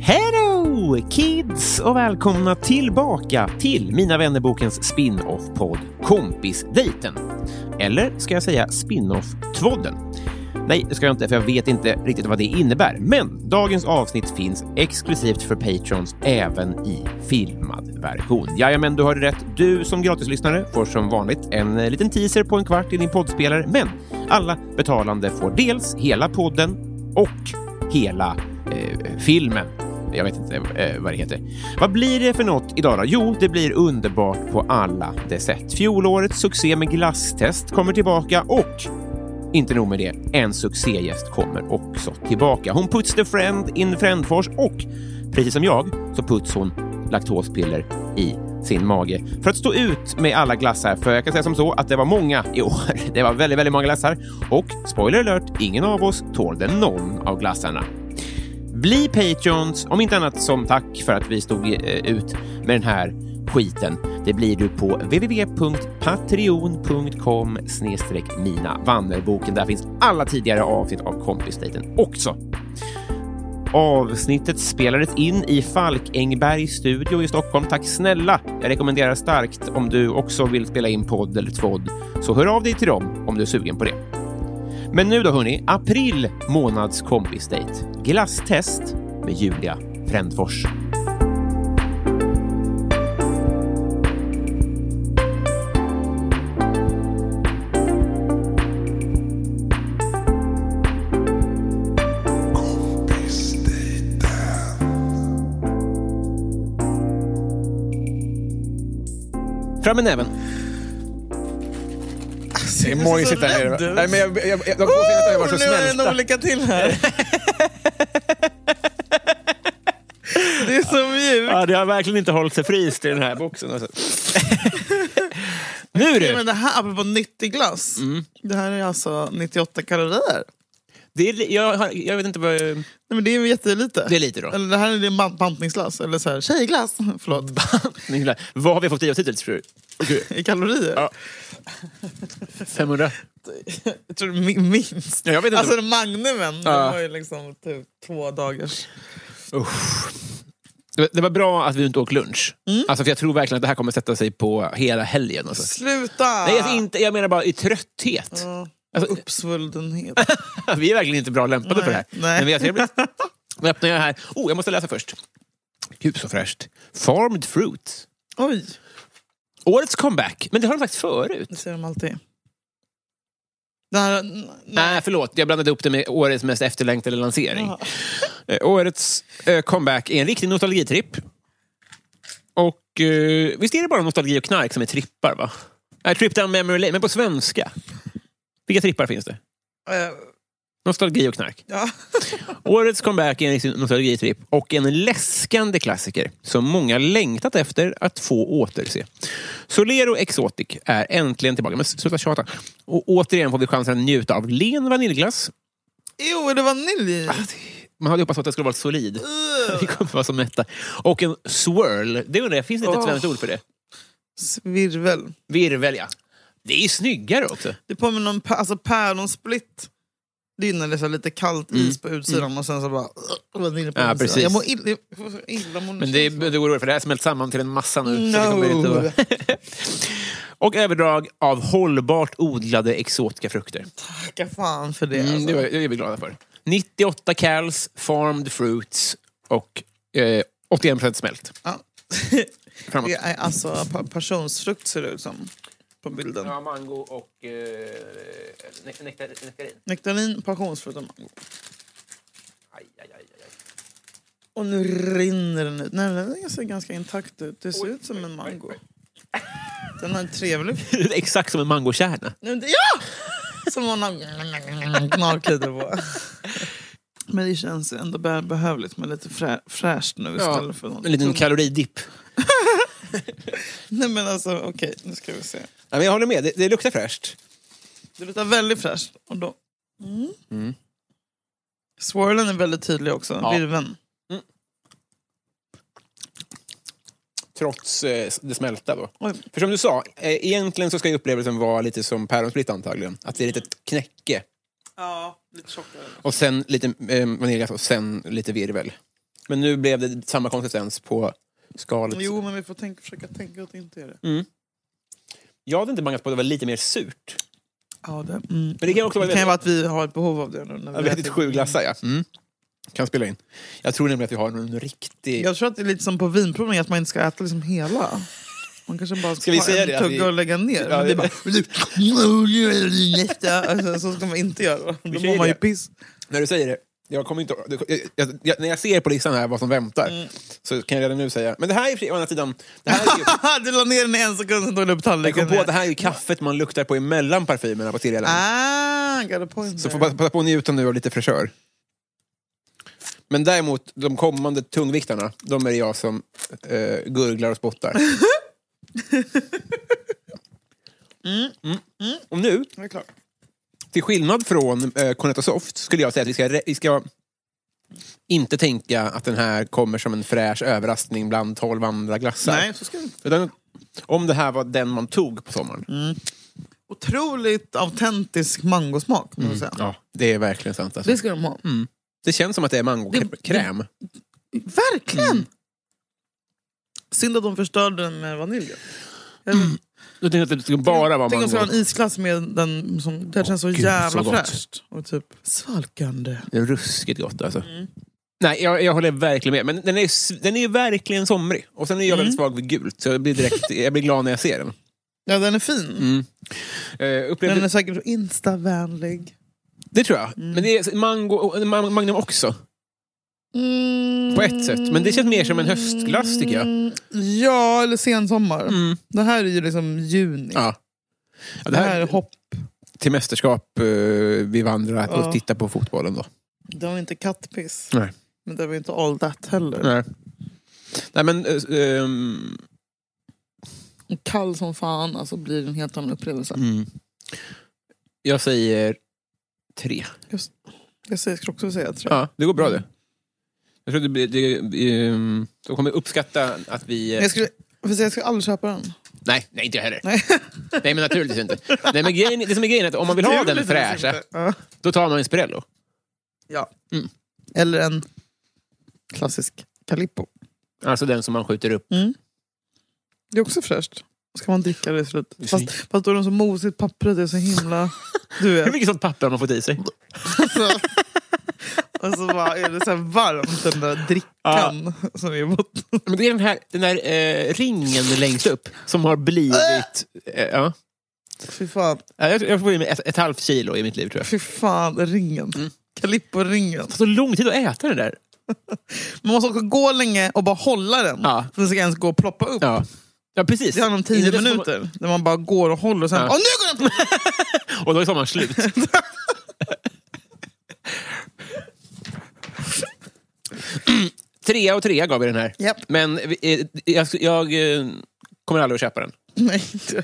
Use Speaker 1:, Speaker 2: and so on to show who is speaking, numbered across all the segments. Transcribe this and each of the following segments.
Speaker 1: Hello kids och välkomna tillbaka till Mina vännerbokens spin-off-podd Kompisdejten. Eller ska jag säga spin-off-tvådden? Nej, det ska jag inte för jag vet inte riktigt vad det innebär. Men dagens avsnitt finns exklusivt för Patrons även i filmad version. Jajamän, du hörde rätt. Du som gratislyssnare får som vanligt en eh, liten teaser på en kvart i din poddspelare. Men alla betalande får dels hela podden och hela eh, filmen jag vet inte eh, vad det heter. Vad blir det för något idag då? Jo, det blir underbart på alla dess sätt. Fjolårets succé med glasstest kommer tillbaka och inte nog med det, en succégäst kommer också tillbaka. Hon puts the friend in Frändfors och precis som jag så puts hon laktospiller i sin mage för att stå ut med alla glassar. För jag kan säga som så att det var många i år. Det var väldigt, väldigt många glassar och spoiler alert, ingen av oss tålde någon av glassarna. Bli Patreons, om inte annat som tack för att vi stod eh, ut med den här skiten. Det blir du på www.patreon.com mina vannerboken. Där finns alla tidigare avsnitt av Kompisdejten också. Avsnittet spelades in i Falkängbergs studio i Stockholm. Tack snälla! Jag rekommenderar starkt om du också vill spela in podd eller tvådd, så hör av dig till dem om du är sugen på det. Men nu då hörni, april månads kompisdejt. Glasstest med Julia Frändfors. Fram med näven.
Speaker 2: Det är Moj sitter här nere. Nej, men jag, jag, jag, jag, de två senaste har jag varit så
Speaker 3: nu är det en
Speaker 2: snäll.
Speaker 3: olycka till här. det är så mjukt.
Speaker 1: Ja, det har verkligen inte hållit sig fryst i den här boxen. Alltså. nu
Speaker 3: Nej,
Speaker 1: du!
Speaker 3: Men det här, apropå nyttig glass.
Speaker 2: Mm.
Speaker 3: Det här är alltså 98 kalorier.
Speaker 1: Det är, li- jag, har- jag vet inte vad... jag-
Speaker 3: Nej, men det är ju jättelite.
Speaker 1: Det är lite då.
Speaker 3: Eller det här är det man- bantningsglass, eller så här, tjejglass. Förlåt.
Speaker 1: Nilla, Vad har vi fått i oss hittills tror du?
Speaker 3: I kalorier.
Speaker 1: 500?
Speaker 3: Jag tror det är min- minst.
Speaker 1: Ja, jag vet inte.
Speaker 3: Alltså magnumen, det
Speaker 1: Ja.
Speaker 3: var ju liksom typ två dagars...
Speaker 1: Det var- Det var bra att vi inte åt lunch.
Speaker 3: Mm.
Speaker 1: Alltså, för jag tror verkligen att det här kommer sätta sig på hela helgen. Alltså.
Speaker 3: Sluta!
Speaker 1: Nej, alltså, inte, jag menar bara i trötthet.
Speaker 3: Ja,
Speaker 1: Alltså,
Speaker 3: Uppsvuldenhet.
Speaker 1: vi är verkligen inte bra lämpade för det här.
Speaker 3: Nej.
Speaker 1: Men vi har trevligt. Nu öppnar jag här. Oh, jag måste läsa först. Gud så fräscht. Farmed fruit.
Speaker 3: Oj,
Speaker 1: Årets comeback. Men det har de sagt förut.
Speaker 3: det ser de alltid. Det här... Nej.
Speaker 1: Nej, förlåt. Jag blandade upp det med årets mest efterlängtade lansering. Eh, årets eh, comeback är en riktig nostalgitripp. Och eh, visst är det bara nostalgi och knark som är trippar? va? Nej, trip down memory lane, men på svenska. Vilka trippar finns det?
Speaker 3: Eh,
Speaker 1: Nostalgi och knark.
Speaker 3: Ja.
Speaker 1: Årets comeback är en riktig nostalgitripp och en läskande klassiker som många längtat efter att få återse. Solero Exotic är äntligen tillbaka. Men sluta tjata. Och återigen får vi chansen att njuta av len vaniljglass.
Speaker 3: Jo, är det vanilj i?
Speaker 2: Ah,
Speaker 1: Man hade hoppats på att det skulle vara solid. Vi kommer vara så mätta. Och en swirl. Det undrar jag, finns det inte ett
Speaker 3: Oh.
Speaker 1: svenskt ord för det?
Speaker 3: Svirvel.
Speaker 1: Virvel, ja. Det är ju snyggare också.
Speaker 3: Det påminner om pä- alltså, päronsplitt. Det är när det är så här lite kallt is på utsidan och sen så bara uh, vanilj på
Speaker 1: Mm, Ja,
Speaker 3: insidan.
Speaker 1: precis.
Speaker 3: Jag mår ill- jag får så illamående.
Speaker 1: Men det är, det oroar för det här smält samman till en massa nu. så det
Speaker 3: No.
Speaker 1: kommer bli lite- och överdrag av hållbart odlade exotiska frukter.
Speaker 3: Tacka fan för det.
Speaker 1: Mm,
Speaker 3: alltså.
Speaker 1: det, var, det är vi glada för. 98 cals, farmed fruits och eh, 81 smält.
Speaker 3: Ja.
Speaker 1: Framåt.
Speaker 3: det är alltså pa- passionsfrukt ser det ut som på bilden.
Speaker 1: mango och eh, nektarin.
Speaker 3: Nektarin, passionsfrukt och mango. Och nu rinner den ut. Nej, den ser ganska intakt ut. Det ser ut som en mango. Den har en trevlig...
Speaker 1: Exakt som en mangokärna.
Speaker 3: Nej, men det- Ja! Som hon har gnagkudde på. Men det känns ju ändå bä- behövligt med lite frä, fräscht nu istället för någon.
Speaker 1: en liten kaloridipp.
Speaker 3: Nej men alltså okej, nu ska vi se.
Speaker 1: Ja, men jag håller med, det, det luktar fräscht.
Speaker 3: Det luktar väldigt fräscht. Och då... mm. Swirlen är väldigt tydlig också,
Speaker 1: Ja.
Speaker 3: virveln.
Speaker 1: Trots eh, det smälta då.
Speaker 3: Oj.
Speaker 1: För som du sa, eh, egentligen så ska ju upplevelsen vara lite som päronsplitt antagligen. Att det är lite knäcke.
Speaker 3: Ja, lite tjockare.
Speaker 1: Och sen lite eh, vaniljglass och sen lite virvel. Men nu blev det samma konsistens på skalet.
Speaker 3: Jo men vi får tänka, försöka tänka att det inte är det.
Speaker 1: Jag hade inte bangat på att det var lite mer surt.
Speaker 3: Ja, det, mm.
Speaker 1: Men det kan också vara
Speaker 3: det kan ju vara att vi har ett behov av det nu. När vi
Speaker 1: väldigt, väldigt
Speaker 3: äter.
Speaker 1: sju glassar. Ja. Mm. Kan spela in. Jag tror nämligen att vi har en riktig...
Speaker 3: Jag tror att det är lite som på vinprovning, att man inte ska äta liksom hela. Man kanske bara ska,
Speaker 1: Ska vi
Speaker 3: ta
Speaker 1: säga
Speaker 3: en
Speaker 1: det, att
Speaker 3: tugga
Speaker 1: vi-
Speaker 3: och lägga ner.
Speaker 1: Ja,
Speaker 3: Men det är bara... Nästa. alltså, så ska man inte göra. Då
Speaker 1: säger
Speaker 3: mår man ju
Speaker 1: det.
Speaker 3: piss.
Speaker 1: När du säger det, jag kommer inte, jag, jag, jag, när jag ser på listan här vad som väntar så kan jag redan nu säga, men det här är i och för sig- å andra sidan, det här är ju,
Speaker 3: du la ner den i en sekund, sen tog du upp
Speaker 1: jag kom
Speaker 3: tallriken.
Speaker 1: på att det
Speaker 3: igen.
Speaker 1: här är ju kaffet man luktar på emellan parfymerna på Siljaland.
Speaker 3: Ah, got a point
Speaker 1: Så får
Speaker 3: there.
Speaker 1: passa passa på att njuta nu av lite fräschör. Men däremot, de kommande tungviktarna, de är det jag som eh, gurglar och spottar. Mm. Och nu,
Speaker 3: Det är klart.
Speaker 1: till skillnad från eh, Cornetto Soft skulle jag säga att vi ska, re- vi ska inte tänka att den här kommer som en fräsch överraskning bland tolv andra glassar.
Speaker 3: Nej, så ska vi.
Speaker 1: Utan, om det här var den man tog på sommaren.
Speaker 3: Mm. Otroligt autentisk mangosmak. måste jag säga.
Speaker 1: Mm, Ja, det är verkligen sant. Alltså.
Speaker 3: Det
Speaker 1: Det,
Speaker 3: ska de ha.
Speaker 1: känns som att det är mangokräm.
Speaker 3: Verkligen!
Speaker 1: Mm.
Speaker 3: Synd att de förstörde den med vanilj. Jag-
Speaker 1: Du tänkte att det skulle bara vara
Speaker 3: Tänk om
Speaker 1: mango?
Speaker 3: det skulle ha en isglass med den som... Det här känns så
Speaker 1: Gud,
Speaker 3: jävla
Speaker 1: så gott.
Speaker 3: fräscht. Och typ svalkande.
Speaker 1: Det är ruskigt gott alltså.
Speaker 3: Mm.
Speaker 1: Nej, jag, jag håller verkligen med. Men den är, s- den är ju verkligen somrig. Och sen är jag väldigt
Speaker 3: Mm.
Speaker 1: svag vid gult, så jag blir, direkt, jag blir glad när jag ser den.
Speaker 3: Ja, den är fin.
Speaker 1: Mm. Eh, upplevde,
Speaker 3: Den är säkert så instavänlig.
Speaker 1: Det tror jag. Men det är mango, och- ma- Magnum också.
Speaker 3: Mm.
Speaker 1: På ett sätt. Men det känns mer som en höstglass tycker jag. Mm.
Speaker 3: Ja, eller sensommar. Det här är ju liksom juni.
Speaker 1: Ja. Ja,
Speaker 3: det, här... är hopp.
Speaker 1: till mästerskap eh, vi vandrar
Speaker 3: Ja.
Speaker 1: och tittar på fotbollen då.
Speaker 3: Det var inte kattpiss.
Speaker 1: Nej.
Speaker 3: Men det var inte all that heller.
Speaker 1: Nej, Nej men... eh, ehm,
Speaker 3: Kall som fan, alltså blir det en helt annan upplevelse.
Speaker 1: mm. Jag säger tre.
Speaker 3: Jag säger- ska också säga tre.
Speaker 1: Ja, det går bra det. Jag tror det blir... Det, ehm, de kommer uppskatta att vi... eh,
Speaker 3: Jag skulle, jag jag skulle aldrig köpa den.
Speaker 1: Nej, nej inte jag heller.
Speaker 3: Nej.
Speaker 1: Nej, men naturligtvis inte. Nej, men grejen, det som är grejen är att om man vill ha den
Speaker 3: Naturligtvis
Speaker 1: fräscha,
Speaker 3: inte. Ja.
Speaker 1: då tar man en Spirello.
Speaker 3: Ja.
Speaker 1: Mm.
Speaker 3: Eller en klassisk Calippo.
Speaker 1: Alltså den som man skjuter upp.
Speaker 3: Det är också fräscht. Ska man dricka det i slutet?
Speaker 1: Precis.
Speaker 3: Fast, fast då är det så mosigt pappret, det är så himla... Du
Speaker 1: Hur
Speaker 3: vet.
Speaker 1: mycket sånt papper har man fått i sig?
Speaker 3: Så. Och så bara, är det så här varmt, den där drickan som är mot.
Speaker 1: Men det är den här, den här eh, ringen längst upp som har blivit... Eh, ja.
Speaker 3: Fy fan,
Speaker 1: Ja, Jag, jag får i mig ett, ett halvt kilo i mitt liv tror jag.
Speaker 3: fy fan ringen. Calippo-ringen.
Speaker 1: Det tar så lång tid att äta det där.
Speaker 3: Man måste också gå länge och bara hålla den.
Speaker 1: Ja.
Speaker 3: För den ska ens gå och ploppa upp.
Speaker 1: Ja, ja precis.
Speaker 3: Det handlar om tio
Speaker 1: Innan dess får
Speaker 3: minuter. Där man bara går och håller och sen...
Speaker 1: Ja.
Speaker 3: Åh, nu går den!
Speaker 1: Man, och då är sommaren slut. trea och trea gav vi den här.
Speaker 3: Japp.
Speaker 1: Men vi- eh, jag, jag eh, kommer aldrig att köpa den.
Speaker 3: Nej, inte.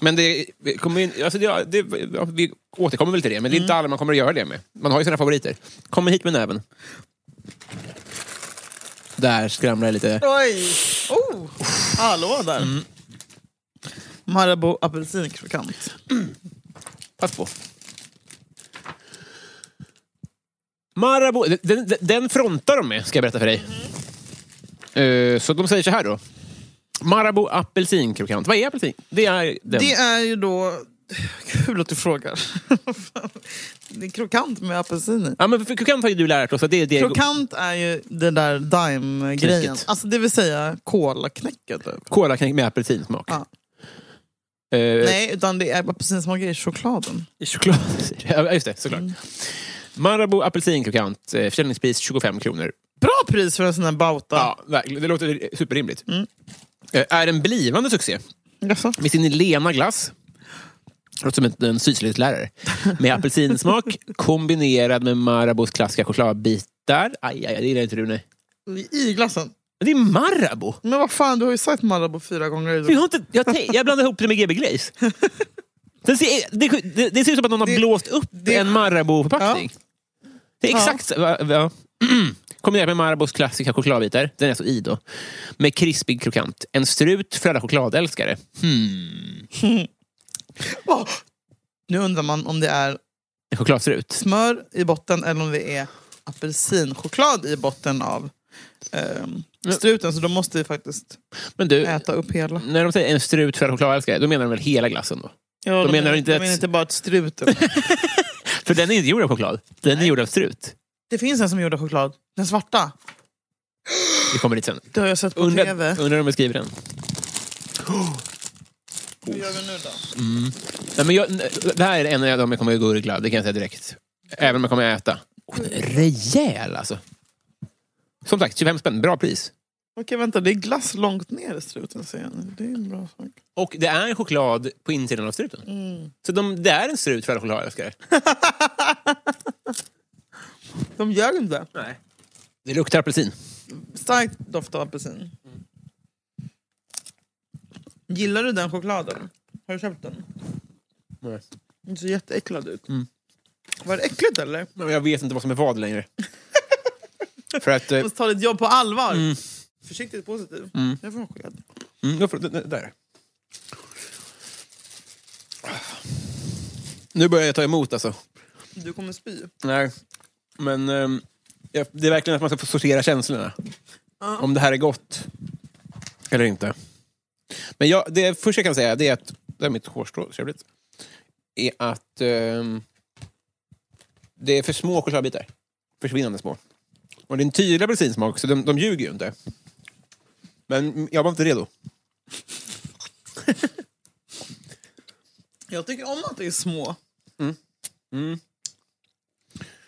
Speaker 1: Men det, vi kommer in, alltså det, det, ja, vi återkommer väl till det, men det är inte
Speaker 3: Mm.
Speaker 1: alla man kommer att göra det med. Man har ju sina favoriter. Kommer hit med näven. Där skramlar det lite.
Speaker 3: Oj! Oh. Mm. Hallå där. Marabou apelsinkrokant.
Speaker 1: Pass på. Marabou, den, den, den frontar de med, ska jag berätta för dig. Eh, så de säger så här då. Marabou apelsinkrokant. Vad är apelsin? Det är den.
Speaker 3: Det är ju då... Kul att du frågar. det är krokant med apelsiner.
Speaker 1: Ja, men för krokant har ju du lärt oss att det är det.
Speaker 3: Krokant är ju den där dime-grejen.
Speaker 1: Knäcket.
Speaker 3: Alltså det vill säga kolaknäcket. Typ.
Speaker 1: Kolaknäck med apelsinsmak.
Speaker 3: Ja.
Speaker 1: Eh,
Speaker 3: Nej, utan det är apelsinsmak i chokladen.
Speaker 1: I choklad. Mm. Ja, just det. Såklart. Marabou apelsinkrokant. eh, Försäljningspris 25 kronor.
Speaker 3: Bra pris för en sån här bauta.
Speaker 1: Ja, verkligen. Det låter superrimligt. Eh, Är en blivande succé
Speaker 3: Jaså?
Speaker 1: med sin lena glass. Låter som en- en syslöjdslärare. Med apelsinsmak kombinerad med Marabous klassiska chokladbitar. Aj, aj, aj, det gillar inte du. Nej.
Speaker 3: I glassen.
Speaker 1: Men det är Marabou!
Speaker 3: Men vad fan, du har ju sagt Marabou fyra gånger.
Speaker 1: Vi har inte, jag, te- jag blandade ihop det med GB Glaze. Den ser, det, det, det ser ut som att någon har
Speaker 3: Det-
Speaker 1: blåst upp
Speaker 3: det-
Speaker 1: en Marabou-förpackning. Det är
Speaker 3: Ja.
Speaker 1: exakt så- va- va- Kombinerat med Marabous klassiska chokladbitar, den är så i då. Med krispig krokant. En strut för alla chokladälskare. Hmm.
Speaker 3: Åh! Nu undrar man om det är
Speaker 1: En chokladstrut.
Speaker 3: smör i botten eller om det är apelsinchoklad i botten av ehm, struten. Så då måste vi faktiskt
Speaker 1: Men du,
Speaker 3: äta upp hela.
Speaker 1: när de säger en strut för alla chokladälskare, då menar de väl hela glassen då?
Speaker 3: Ja,
Speaker 1: de menar inte
Speaker 3: de
Speaker 1: att-
Speaker 3: menar inte bara att struten.
Speaker 1: För den är inte gjord av choklad. Den är gjord av strut.
Speaker 3: det finns en som gjorde choklad. Den svarta.
Speaker 1: Vi kommer dit sen.
Speaker 3: Det har jag sett på tv.
Speaker 1: Undrar, undrar om jag skriver den.
Speaker 3: Hur gör vi nu då?
Speaker 1: Nej, men jag, det här är en av dem jag kommer att gurgla, det kan jag säga direkt. Även om jag kommer att äta. Oh, den är rejäl alltså! Som sagt, 25 spänn, bra pris.
Speaker 3: Okej, vänta. Det är glass långt ner i struten. ser jag nu. Det är en bra sak.
Speaker 1: Och det är choklad på insidan av struten. Så de, det är en strut för alla chokladälskare.
Speaker 3: De gör inte.
Speaker 1: Nej. Det luktar apelsin.
Speaker 3: Stark doft av apelsin. Gillar du den chokladen? Har du köpt den?
Speaker 1: Nej.
Speaker 3: Den ser jätteäcklad ut.
Speaker 1: Mm.
Speaker 3: Var det äckligt eller?
Speaker 1: Men jag vet inte vad som är vad längre. för att... eh,
Speaker 3: Du måste ta ditt jobb på allvar. Försiktigt positiv. Jag får choklad.
Speaker 1: Mm, då får, d- d- där. Nu börjar jag ta emot alltså.
Speaker 3: Du kommer spy.
Speaker 1: Nej, men ehm, jag- det är verkligen att man ska få sortera känslorna. Om det här är gott eller inte. Men jag, det första jag kan säga det är att, det är mitt hårstrå, trevligt. Är att ehm, det är för små chokladbitar. Försvinnande små. Och det är en tydlig apelsinsmak, så de, de ljuger ju inte. Men jag var inte redo.
Speaker 3: Jag tycker om att det är små.
Speaker 1: Mm.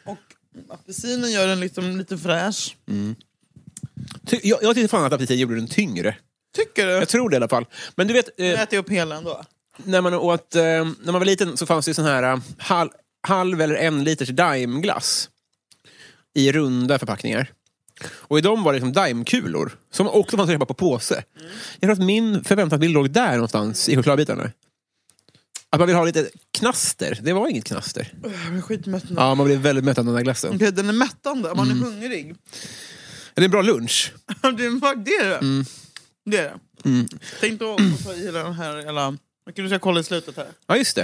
Speaker 3: Och apelsinen gör den liksom lite fräsch.
Speaker 1: Ty, jag, jag tyckte fan att apelsin gjorde den tyngre.
Speaker 3: Tycker du?
Speaker 1: Jag tror det i alla fall. Men du vet... eh,
Speaker 3: Jag äter upp hela ändå.
Speaker 1: när man, åt, eh, när man var liten så fanns det ju sån här eh, halv, halv eller en liters daimglass i runda förpackningar. Och i dem var det liksom daimkulor som också fanns att köpa på påse. Jag tror att min förväntansbild låg där någonstans i chokladbitarna. Att man vill ha lite knaster. Det var inget knaster.
Speaker 3: Jag blir skitmätt nu.
Speaker 1: Ja, Mm. man blev väldigt mätt av den där glassen.
Speaker 3: Okej, Den är mättande om man är hungrig.
Speaker 1: Det är en bra lunch.
Speaker 3: Ja, Det är det. Är det.
Speaker 1: Mm.
Speaker 3: det, är det. Tänk då att ta i den här hela... Okej, nu ska jag kolla i slutet här.
Speaker 1: Ja, just det.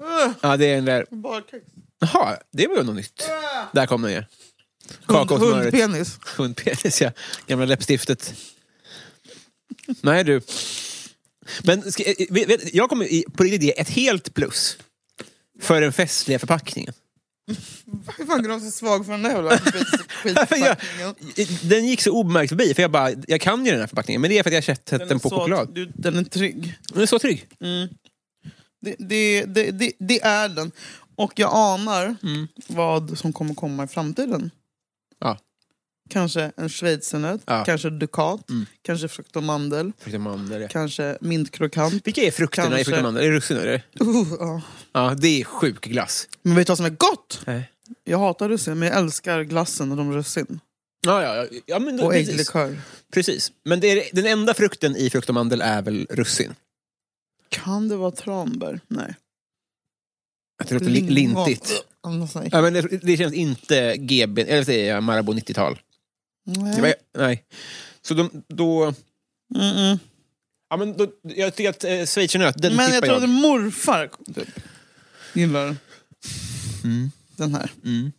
Speaker 3: Uh,
Speaker 1: Ja, det är den där...
Speaker 3: Badkex.
Speaker 1: Jaha, det var ju något nytt.
Speaker 3: Ah!
Speaker 1: Där kom den ju.
Speaker 3: Hund-
Speaker 1: Kaka och smöret.
Speaker 3: Hundpenis.
Speaker 1: Hundpenis, ja. Gamla läppstiftet. Nej du. Men ska, eh, vet, vet, jag kommer i- på riktigt ge ett helt plus för den festliga förpackningen.
Speaker 3: Hur fan kan du vara så svag för den där jävla skit-
Speaker 1: jag,
Speaker 3: skitförpackningen?
Speaker 1: den gick så obemärkt förbi, för jag bara, jag kan ju den här förpackningen. Men det är för att jag har sett den,
Speaker 3: är
Speaker 1: på
Speaker 3: så-
Speaker 1: choklad.
Speaker 3: Du, den är trygg.
Speaker 1: Den är så trygg.
Speaker 3: Det, det, det, det, det är den. Och jag anar vad som kommer komma i framtiden.
Speaker 1: Mm. Ja.
Speaker 3: Kanske en schweizernöt,
Speaker 1: Ja.
Speaker 3: kanske dukat, kanske frukt och mandel,
Speaker 1: Frukt och mandel, ja.
Speaker 3: kanske mintkrokant.
Speaker 1: Vilka är frukterna i
Speaker 3: Kanske.
Speaker 1: frukt och mandel? Är det russin? eller?
Speaker 3: Uh, ja.
Speaker 1: Ja, det är sjuk glass.
Speaker 3: Men vet du vad som är gott?
Speaker 1: Nej.
Speaker 3: Jag hatar russin, men jag älskar glassen och de russin.
Speaker 1: Ja, ja, ja. ja men,
Speaker 3: Och
Speaker 1: precis.
Speaker 3: ägglikör.
Speaker 1: precis. Men det är, den enda frukten i frukt och mandel är väl russin?
Speaker 3: Kan det vara tranbär? Nej.
Speaker 1: Att det låter li-
Speaker 3: Lingon.
Speaker 1: lintigt.
Speaker 3: Ja, något sånt.
Speaker 1: Ja, men det, det känns inte GB, eller säger jag, Marabou 90-tal. Det var,
Speaker 3: Nej.
Speaker 1: nej. Så de, då...
Speaker 3: Mm-mm.
Speaker 1: Ja, men då, jag tycker att eh, schweizernöt, den
Speaker 3: Men jag
Speaker 1: tippar
Speaker 3: tror
Speaker 1: jag.
Speaker 3: att morfar typ, gillar den här.
Speaker 1: Mm.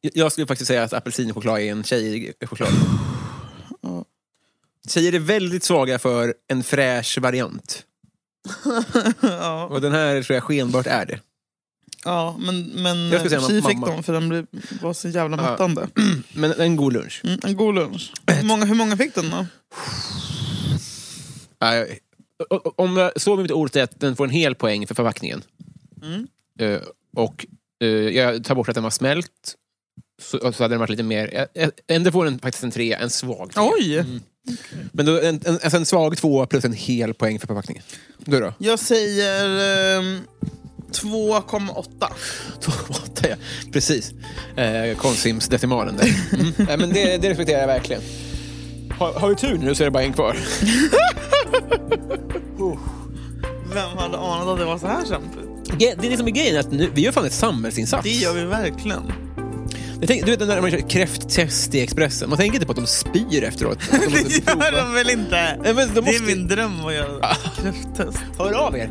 Speaker 1: Jag skulle faktiskt säga att apelsinchoklad är en tjejig choklad. Tjejer är väldigt svaga för en fräsch variant.
Speaker 3: ja,
Speaker 1: Och den här tror jag skenbart är det.
Speaker 3: ja, men, men
Speaker 1: Jag ska säga
Speaker 3: tji
Speaker 1: mamma.
Speaker 3: fick dem för den blev, var så jävla mattande.
Speaker 1: Men en god lunch.
Speaker 3: Mm, en god lunch. Hur många, hur många fick den då?
Speaker 1: Nej, o- o- Om jag såg mitt ord rätt, den får en hel poäng för förpackningen. Eh, och eh, jag tar bort att den var smält. Så, så hade den varit lite mer... eh, eh, Ändå får den faktiskt en trea, en svag trea.
Speaker 3: Oj!
Speaker 1: Men då, en, en, alltså en svag tvåa plus en hel poäng för förpackningen. Du då?
Speaker 3: Jag säger ehm, 2,8.
Speaker 1: Tvååtta, ja. Precis. Eh, Konsimsdecimalen där. Mm. Nej, men det, det respekterar jag verkligen. Har, har vi tur nu så är det bara en kvar.
Speaker 3: Vem hade anat att det var så här kämpigt?
Speaker 1: Det är det som är grejen, att nu, vi gör fan en samhällsinsats.
Speaker 3: Det gör vi verkligen.
Speaker 1: Jag tänker, du vet när man kör kräfttest i Expressen, man tänker inte på att de spyr efteråt. Att de måste
Speaker 3: Det gör
Speaker 1: prova.
Speaker 3: de väl inte?
Speaker 1: Nej, men de
Speaker 3: Det
Speaker 1: måste,
Speaker 3: är min dröm att göra kräfttest.
Speaker 1: Hör av er!